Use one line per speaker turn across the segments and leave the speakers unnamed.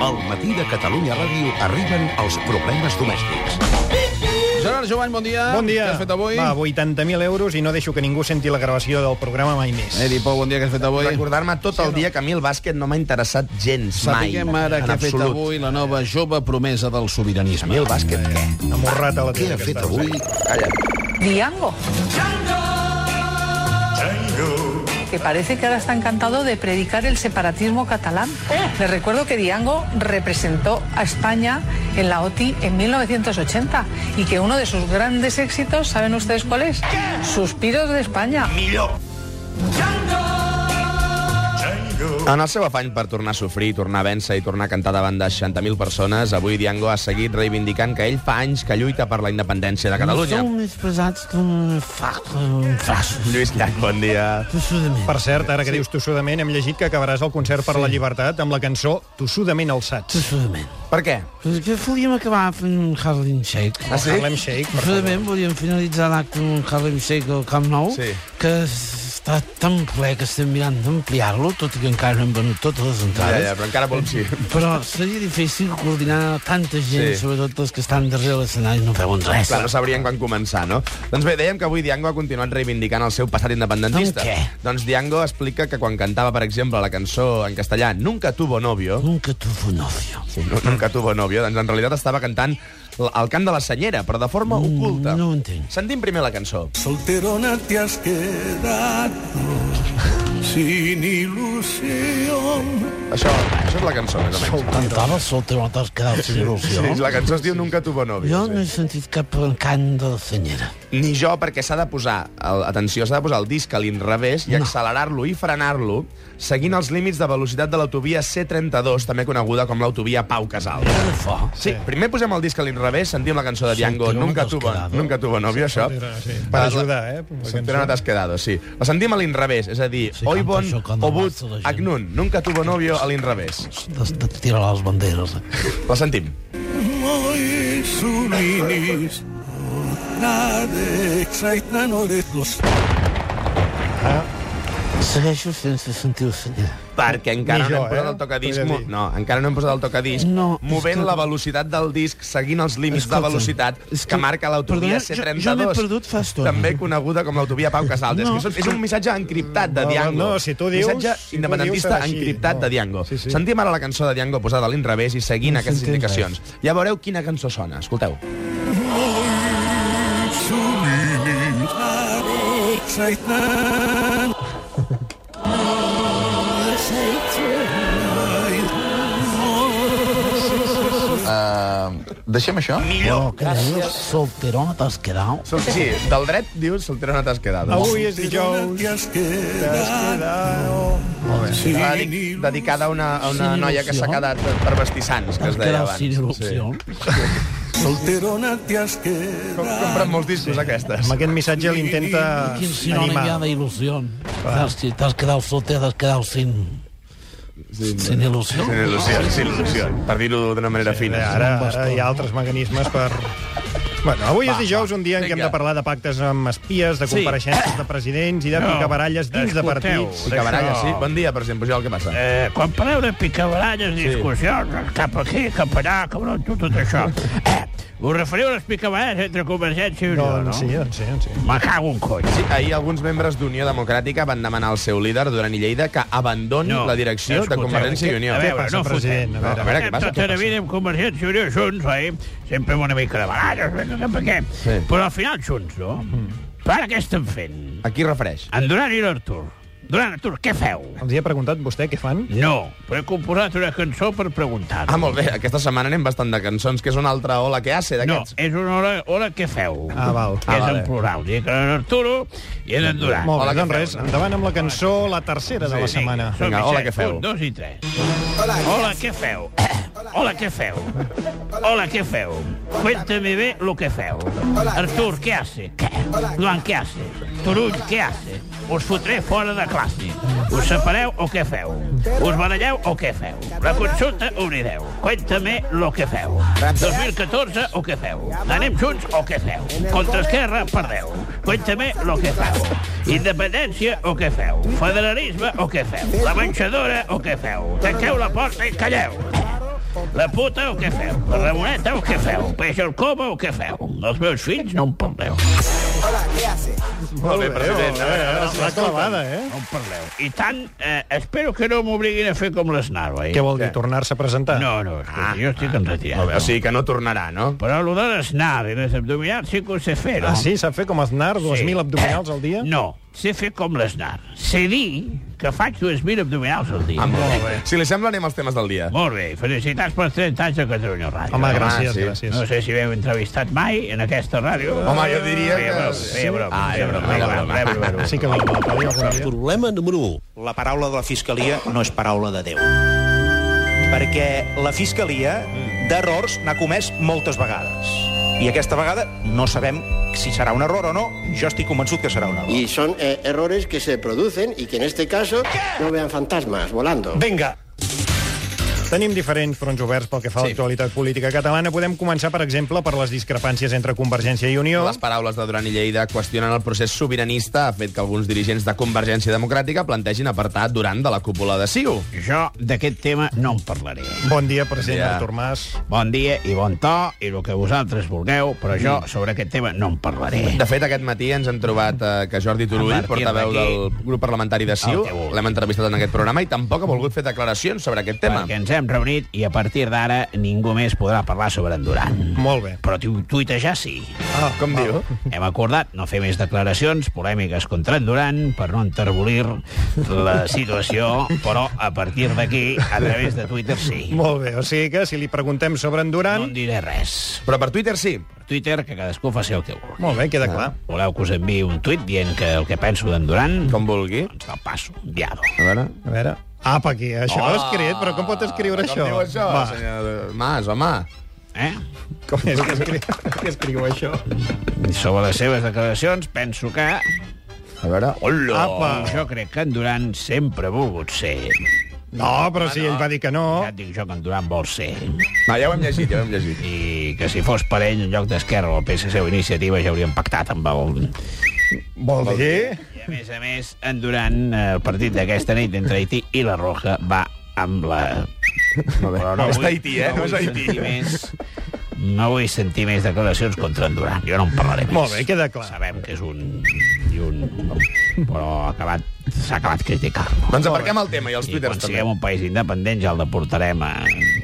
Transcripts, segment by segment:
Al matí de Catalunya Ràdio arriben els problemes domèstics.
Gerard Jovany, bon dia.
Bon dia.
Què has fet avui?
Va, 80.000 euros i no deixo que ningú senti la gravació del programa mai més.
Edi Pou, bon dia, què has fet avui?
Recordar-me tot el dia que a mi el bàsquet no m'ha interessat gens mai.
Sapiguem ara
en
què ha fet
absolut.
avui la nova jove promesa del sobiranisme.
A mi el bàsquet, què?
Amorrat a la
Què
tele
ha fet
aquesta.
avui?
Calla.
Diango. Que parece que ahora está encantado de predicar el separatismo catalán. Les recuerdo que Diango representó a España en la OTI en 1980 y que uno de sus grandes éxitos, ¿saben ustedes cuál es? Suspiros de España.
En el seu afany per tornar a sofrir, tornar a vèncer i tornar a cantar davant de 60.000 persones, avui Diango ha seguit reivindicant que ell fa anys que lluita per la independència de Catalunya.
Som més pesats d'un fac, un fas.
Lluís Llach, bon dia.
Tossudament.
Per cert, ara que dius tossudament, hem llegit que acabaràs el concert per la llibertat amb la cançó Tossudament alçats.
Tossudament.
Per què?
Però és que volíem acabar fent un Harlem Shake.
Ah, sí?
Harlem Shake, per favor.
Tossudament volíem finalitzar l'acte amb un Harlem Shake al Camp Nou,
Sí.
que està tan ple que estem mirant d'ampliar-lo, tot i que encara no hem venut totes les
Ja,
entrades.
ja, Eh, però encara vol sí.
Però seria difícil coordinar tanta gent,
Sí.
sobretot els que estan darrere l'escenari no veuen res.
Clar, no sabrien quan començar, no? Doncs bé, dèiem que avui Diango ha continuat reivindicant el seu passat independentista.
Amb què?
Doncs Diango explica que quan cantava, per exemple, la cançó en castellà Nunca tuvo novio,
Nunca tuvo novio.
sí, nu- Nunca tuvo novio, doncs en realitat estava cantant l- el cant de la senyera, però de forma oculta.
Mm, no ho entenc.
Sentim primer la cançó.
Solterona te has quedado sin ilusión.
Això, això és la cançó, més o menys.
Cantava el sol terrotat que era el senyor Lucio.
Sí, la cançó es diu Nunca tuvo novio.
Jo
sí.
no he sentit cap encant de la senyera.
Ni jo, perquè s'ha de posar, el, atenció, s'ha de posar el disc a l'inrevés i accelerar-lo i frenar-lo seguint els límits de velocitat de l'autovia C32, també coneguda com l'autovia Pau Casal.
Era fo.
Sí, primer posem el disc a l'inrevés, sentim la cançó de Diango,
Soltero
Nunca
no
tuvo,
t'has quedado.
nunca tuvo novio, això.
Sí, per ajudar, eh? La
Soltero no
cançó.
t'has quedado, sí. La sentim a l'inrevés, és a dir,
Sí,
Hoy
canta
bon,
això quan
obut,
avança la gent.
agnun, Nunca tuvo novio a l'inrevés.
De, de tirar les banderes.
La sentim.
Moji su minis nade exaitano de los
Segueixo sense sentir la senyera.
Perquè
Ni
encara no
jo,
hem posat
eh?
el tocadisc...
T'ho he de
mo-
dir.
No, encara no hem posat el tocadisc
No, és
movent
que-
la velocitat del disc seguint els límits de
Escolta'm,
velocitat que,
és que-
marca l'autovia
Perdona,
C32.
jo- jo m'he perdut fa estona.
També coneguda com l'autovia Pau Casals.
No,
No, és, que és- és un missatge encriptat de
No,
Diango.
no, si tu dius-
Missatge
si tu
independentista
dius, serà així.
encriptat
No.
de Diango.
Sí, sí.
Sentim ara la cançó de Diango posada a l'inrevés i seguint
No
aquestes
s'entén res.
indicacions. Ja veureu quina cançó sona. Escolteu.
su minis nade exaitano
Deixem això?
Però, Oh, que dius, solteró t'has quedat?
Sol- Sí, del dret dius Soltero no t'has quedat.
Avui és dijous.
te has quedado sin
Dedic- Dedicada a una, a una
Sin
noia que s'ha
il·lusió.
quedat per vestissants, que
T'has
es deia
quedat
abans.
sin il·lusió?
Solterona te has quedado
Compren molts discos, sí. aquestes.
Amb aquest missatge l'intenta
Quin sinònim hi ha
animar.
d'il·lusió? T'has t'has quedat solter, t'has quedat sin... Sin il·lusió?
Sin il·lusió, sin il·lusió. Per dir-ho d'una manera sí, fina.
Ara, ara hi ha altres mecanismes per... Bueno, avui és dijous, un dia en què hem
vinga.
de parlar de pactes amb espies, de compareixences de presidents i de picabaralles dins de
escolteu.
partits.
Picabaralla,
Això.
sí. Bon dia, per exemple, Pujol, què passa? Eh.
Eh, quan parleu de picabaralles, discussions, cap aquí, cap allà, cabrón, tu, tot això. Eh, us referiu a les picabaralles entre Convergència i Unió, no?
Doncs sí, doncs sí, doncs sí.
Me cago un cony.
Sí, ahir alguns membres d'Unió Democràtica van demanar al seu líder, Duran i Lleida, que abandoni no, la direcció de
escolteu,
Convergència i Unió.
A veure,
passa,
no
president?
fotem.
A veure,
a veure, què
Anem
passa,
Tota
què
la
passa?
vida amb Convergència i Unió junts, oi? Sempre amb una mica de baralles, vinga, cap aquí.
Sí. Mm.
Però al final junts, no? Però ara què estem fent?
A qui es refereix?
En Duran i l'Artur. Duran, Artur, què feu?
Els hi ha preguntat vostè què fan?
No, però he composat una cançó per preguntar-ho.
Ah, molt bé, aquesta setmana anem bastant de cançons, que és una altra ola que hace
No,
d'aquests.
és una hora, hora que feu.
Ah, val.
Que
Ah,
és
vale.
en plural. Dic que en Arturo i en en Duran.
Molt
Hola,
bé,
què
doncs
feu,
res,
no?
endavant amb la cançó, la tercera de la
Sí,
setmana.
Som
Vinga,
Vicenç,
hola, què feu?
Un, dos i tres. Hola, què feu? Hola, què feu? Hola, què feu? Cuéntame bé lo que feu. Artur, què hace? Què? Joan, què hace? Turull, què hace? Us fotré fora de classe. Us separeu o què feu? Us baralleu o què feu? La consulta obrireu. Cuéntame lo que feu. 2014 o què feu? Anem junts o què feu? Contra Esquerra perdeu. Cuéntame lo que feu. Independència o què feu? Federalisme o què feu? La menjadora o què feu? Tanqueu la porta i calleu. La puta o què feu? La Ramoneta o què feu? Peix al coma o què feu? Els meus fills no em parleu.
Molt bé, president. eh? A veure,
La clavada, eh?
No em parleu. I tant, eh, espero que no m'obliguin a fer com les Narva. Eh?
Què vol Ah, dir, tornar-se a presentar?
No, no, escolta, jo estic enretirat.
Molt bé, o sigui que no tornarà, no?
Però lo de les naves, les abdominals, sí que ho sé fer, no?
Ah, sí? Sap fer com Aznar, 2.000 abdominals al dia?
No, sé fer com l'Aznar. Sé dir que faig 2.000 abdominals al dia.
Ah, molt bé. Si li sembla, anem als temes del dia.
Molt bé, felicitats pels 30 anys de Catalunya Ràdio.
Home,
Ah,
gràcies,
sí.
gràcies.
No sé si m'heu entrevistat mai en aquesta ràdio.
Home, jo diria
Feia
que
broma,
sí.
feia broma.
Ah, era broma,
Feia
era broma.
feia broma.
Sí que va la Clàudia algun dia.
Problema número 1.
La paraula de la Fiscalia no és paraula de Déu. Perquè la Fiscalia d'errors n'ha comès moltes vegades. I aquesta vegada no sabem si serà un error o no. Jo estic convençut que serà un error.
Y son eh, errores que se producen y que en este caso no vean fantasmas volando.
Vinga!
Tenim diferents fronts oberts pel que fa a l'actualitat política catalana. Podem començar, per exemple, per les discrepàncies entre Convergència i Unió.
Les paraules de Duran i Lleida qüestionen el procés sobiranista ha fet que alguns dirigents de Convergència Democràtica plantegin apartar Duran de la cúpula de CiU.
Jo d'aquest tema no en parlaré.
Bon dia, president
Bon dia.
Artur Mas.
Bon dia i bon to i el que vosaltres vulgueu, però jo sobre aquest tema no en parlaré.
Mm. De fet, aquest matí ens hem trobat eh, que Jordi
A
Turull,
partir
portaveu
d'aquí,
del grup parlamentari de CiU,
el que vulgui.
l'hem entrevistat en aquest programa i tampoc ha volgut fer declaracions sobre aquest tema.
Perquè ens hem reunit i a partir d'ara ningú més podrà parlar sobre en Duran.
Molt bé.
Però tu tuitejar sí.
Ah, com diu?
Hem acordat no fer més declaracions polèmiques contra en Duran per no enterbolir la situació, però a partir d'aquí, a través de Twitter sí.
Molt bé, o sigui que si li preguntem sobre en
No
Duran...
en diré res.
Però per Twitter sí.
Per Twitter, que cadascú faci el que vulgui.
Molt bé, queda clar.
Voleu que us enviï un tuit dient que el que penso d'en Duran?
Com vulgui.
Doncs te'l passo, enviado.
A veure...
A veure... Apa, aquí, això oh, escrit, però com pot escriure
Ah. com
això?
Diu això
Va,
senyor Mas, home.
Eh?
com és que, escri... que escriu això?
I sobre les seves declaracions, penso que...
A veure... Hola!
Apa!
Jo crec que en Duran sempre ha volgut ser.
No, però si ell va dir que no...
Ja et dic jo que en Duran vol ser.
Va, ja ho hem llegit, ja ho hem llegit. Doncs
I que si fos per ell, en lloc d'Esquerra o el PSC o Iniciativa, ja haurien pactat amb el...
Vol dir...
I a més a més, en Duran, eh, el partit d'aquesta nit entre Haití i la Roja va amb la... Però
No és
vull-
Haití, eh? No és
vull
Haití.
sentir Més, no vull sentir més declaracions contra en Duran. Jo no en parlaré més.
Molt bé, queda clar.
Sabem que és un... I un però ha acabat s'ha acabat criticar.
Doncs aparquem el tema i els
I quan
twitters també.
siguem un país independent ja el deportarem a...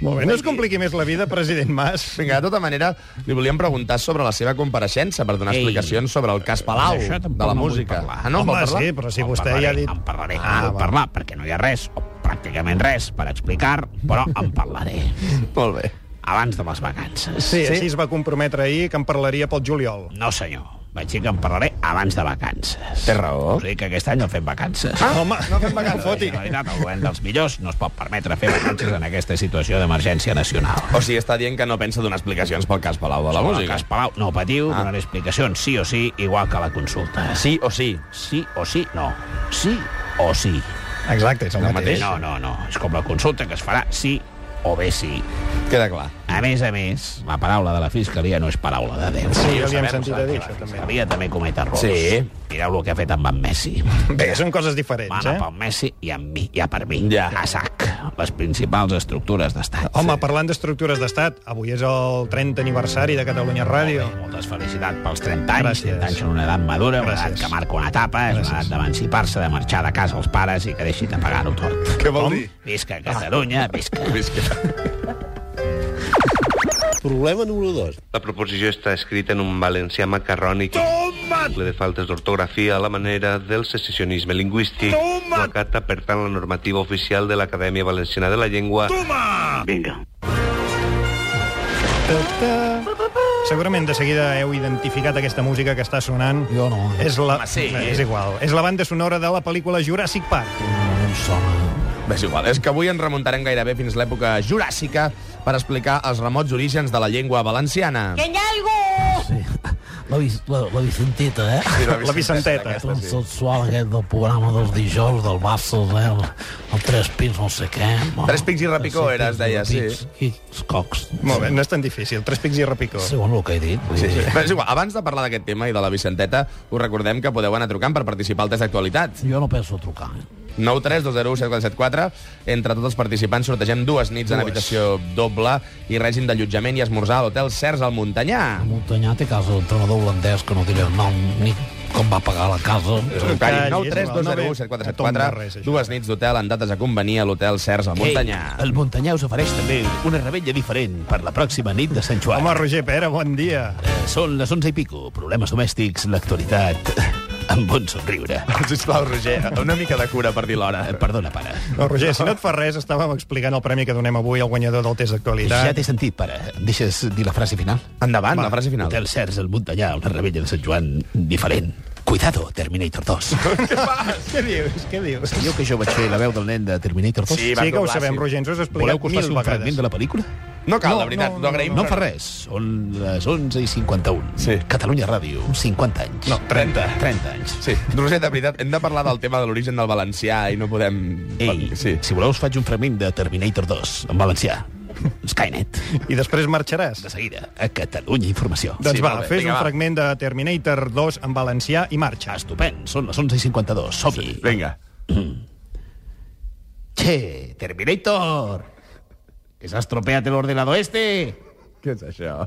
Molt bé, no es compliqui més la vida, president Mas.
Vinga, de tota manera, li volíem preguntar sobre la seva compareixença per donar
Ei.
explicacions sobre el cas Palau,
D'això tampoc
de la
no vull
música.
parlar.
Ah, no, en vol
Home,
parlar?
sí, però si
En
vostè
parlaré,
ja ha dit...
En parlaré,
Ah,
ah, no
va.
puc parlar, perquè no hi ha res, o pràcticament res, per explicar, però en parlaré.
Molt bé.
Abans de les vacances.
Sí, així es va comprometre ahir que en parlaria pel juliol.
No, senyor. Vaig dir que en parlaré abans de vacances.
Té raó.
Us dic que aquest any no fem vacances.
Ah, Home, no fem
La Generalitat, el govern dels millors no es pot permetre fer vacances en aquesta situació d'emergència nacional.
O sigui, està dient que no pensa donar explicacions pel cas Palau de la
Sobre el
música.
Cas Palau, no patiu, ah. donaré explicacions sí o sí, igual que a la consulta.
Sí o sí.
Sí o sí, no. Sí o sí.
Exacte, és el
El
mateix.
mateix.
No, no, no. És com la consulta que es farà sí o bé sí.
Queda clar.
A més a més, la paraula de la fiscalia no és paraula de Déu.
Sí, ja
Ho
li hem
sabem,
sentit
sabem
a dir
que
això,
La
també.
fiscalia també comet errors.
Sí.
Mireu el que ha fet amb en Messi.
Bé, són coses diferents,
Mana
eh?
pel Messi i amb mi, ja per mi.
Ja.
A sac, les principals estructures d'estat.
Home, parlant d'estructures d'estat, avui és el 30 aniversari de Catalunya Ràdio.
Moltes felicitats pels 30 anys.
Gràcies.
30 anys són una edat madura, una edat
Gràcies.
que marca una etapa, és una edat d'emancipar-se, de marxar de casa als pares i que deixi de pagar-ho tot.
Què vol dir?
Visca Catalunya, visca.
Problema número 2.
La proposició està escrita en un valencià macarrònic ple de faltes d'ortografia a la manera del secessionisme lingüístic. La carta, per tant, la normativa oficial de l'Acadèmia Valenciana de la Llengua.
Ta-ta. Segurament de seguida heu identificat aquesta música que està sonant.
Jo no. eh,
És la...
Home, sí.
Bé, És igual. És la banda sonora de la pel·lícula Jurassic Park.
No em sona.
És igual, és que avui ens remuntarem gairebé fins l'època juràssica per explicar els remots orígens de la llengua valenciana.
Sí. La, Vic- la, la Vicentita, eh?
La Vicenteta.
Tan sensual aquest del programa dels dijous, del Barça, eh? El, el Tres Pins, no sé què. Bueno,
Tres Pics i Repicó era, es deia, sí.
I els cocs.
Molt bé, no és tan difícil. Tres pics i repicó.
Sí, bueno, el que he dit.
Sí, sí. Però és igual, abans de parlar d'aquest tema i de la Vicenteta, us recordem que podeu anar trucant per participar al test d'actualitat.
Jo no penso trucar. Eh?
932017474. Entre tots els participants sortegem dues nits en
Dues.
habitació doble i règim d'allotjament i esmorzar a l'hotel Cers al Muntanyà.
Montanyà té casa d'entrenador holandès que no diré el nom ni com va pagar la casa.
Trucalli,
No ve a tomb de
932017474, dues nits d'hotel en dates a convenir a l'hotel Cers al Muntanyà.
Ei, el Montanyà us ofereix també una rebella diferent per la pròxima nit de Sant Joan. Home,
Roger Pera, bon dia.
Eh, són les 11 i pico. Problemes domèstics, l'actualitat, amb bon somriure.
Sisplau, Roger, una mica de cura per dir l'hora.
Perdona, pare.
No, Roger, si no et fa res, estàvem explicant el premi que donem avui al guanyador del test d'actualitat.
Ja t'he sentit, pare. Em deixes dir la frase final?
Endavant,
la frase final. Hotel Cers, el Montanyà, una rebella de Sant Joan diferent. Cuidado, Terminator 2.
Què dius? Què dius?
Sabíeu que jo vaig fer la veu del nen de Terminator 2?
Sí, van Sí que ho doblar, sabem, sí. Roger, ens ho has explicat
Voleu que us
mil
faci un
vegades.
fragment de la pel·lícula?
No cal, la veritat, no agraïm,
No
però-
fa res, són les 11 i 51. Sí. Catalunya Ràdio, 50 anys. No,
30.
30 anys.
Sí, Roger, de veritat, hem de parlar del tema de l'origen del valencià i no podem...
Ei, sí. si voleu us faig un fragment de Terminator 2, en valencià. Skynet.
I després marxaràs?
De seguida, a Catalunya Informació.
Doncs sí, va, fes un fragment de Terminator 2 en valencià i marxa.
Estupend, són les 11 i 52, som-hi. Sí,
vinga.
Che, Terminator! Que s'ha estropeat l'ordenador este!
Què és això?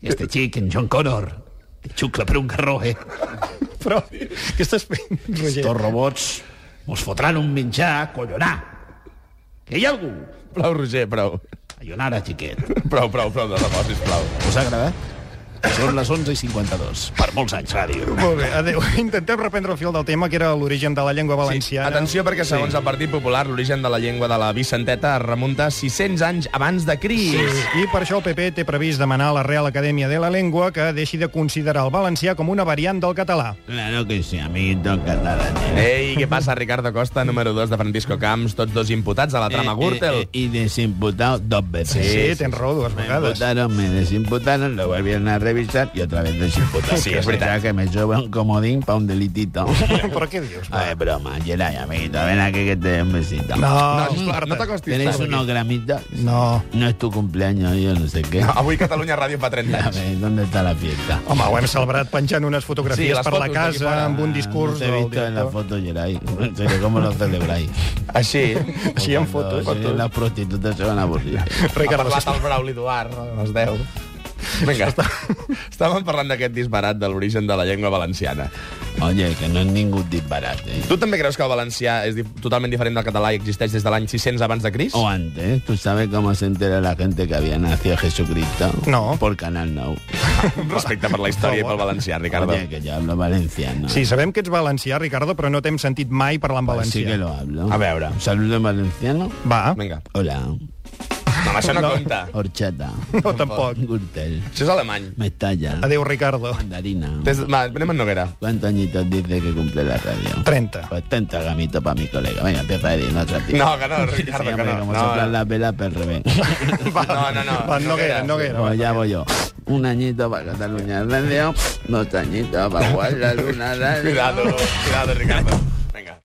Este xic, en John Connor, te xucla per un carró, eh?
Però, què estàs fent, Roger?
Estos robots mos fotran un menjar, collonar. Que hi ha algú?
Prou, Roger, prou.
Ayonara, xiquet.
Prou, prou, prou, de debò, sisplau.
Us ha agradat? Són les 11 i 52. Per molts anys, ràdio.
Molt bé, adéu. Intentem reprendre el fil del tema, que era l'origen de la llengua valenciana.
Atenció, perquè segons el Partit Popular, l'origen de la llengua de la Vicenteta es remunta a 600 anys abans de Cris. Sí.
I per això el PP té previst demanar a la Real Acadèmia de la Llengua que deixi de considerar el valencià com una variant del català.
Claro que sí, amiguito catalán.
Ei, què passa, Ricardo Costa, número 2 de Francisco Camps, tots dos imputats a la trama Gürtel?
Eh, y desimputado dos veces.
Sí,
tens raó, dues
vegades. Me imputaron, me desimputaron, lo volvieron a revisar y otra vez desimputaron.
Sí, es verdad.
O sea, que me llevo un comodín para un delitito.
¿Por qué Dios?
A ver, broma, Geray, amiguito, ven aquí que te dé un besito.
No, no, no t'acostis.
¿Tenéis
tant.
unos gramitos?
No.
No es tu cumpleaños, yo no sé qué.
No, avui Catalunya Ràdio fa 30
A
anys.
ver, ¿dónde está la fiesta?
Home, ho hem celebrat penjant unes
Sí,
fotografies
les
per la
fotos d'aquí
casa,
fora.
amb un discurs...
No t'he
del
visto en la
director.
foto, Geray. No sé cómo lo celebráis.
Així?
Així, en fotos.
Cuando Las prostitutas se van a aburrir.
Ricardo, ha parlat el Brauli Duart a les 10. Vinga, estàvem parlant d'aquest disbarat de l'origen de la llengua valenciana.
Oye, que no és ningú disbarat, eh?
Tu també creus que el valencià és di- totalment diferent del català i existeix des de l'any 600 abans de Cris?
O antes, Oh, ¿tú sabes cómo se entera la gente que había nacido Jesucristo? No. Por Canal Now.
Respecte per la història i pel valencià, Ricardo.
Oye, que yo hablo valenciano.
Sí, sabem que ets valencià, Ricardo, però no t'hem sentit mai parlar en valencià.
Sí que lo hablo.
A veure.
Un saludo en valenciano.
Va.
Vinga.
Hola.
No, això Ah. no, compta.
Horchata.
No, tampoc.
Gürtel.
Això és alemany.
Mestalla.
Adéu, Ricardo.
Mandarina.
Des, va, anem en Noguera.
¿Cuántos añitos dice que cumple la radio?
30.
Pues 30 gamitos para mi colega. Venga, empieza a decir, no te atrevas.
No, que no, Ricardo,
Sí,
que
hombre,
no.
Como
No,
soplan
no.
las velas, pues al revés.
No, no, no.
Va, Noguera, Noguera.
Pues ya voy yo. Un añito para Cataluña Radio, dos añitos para jugar la luna. la-
Cuidado, cuidado, Ricardo.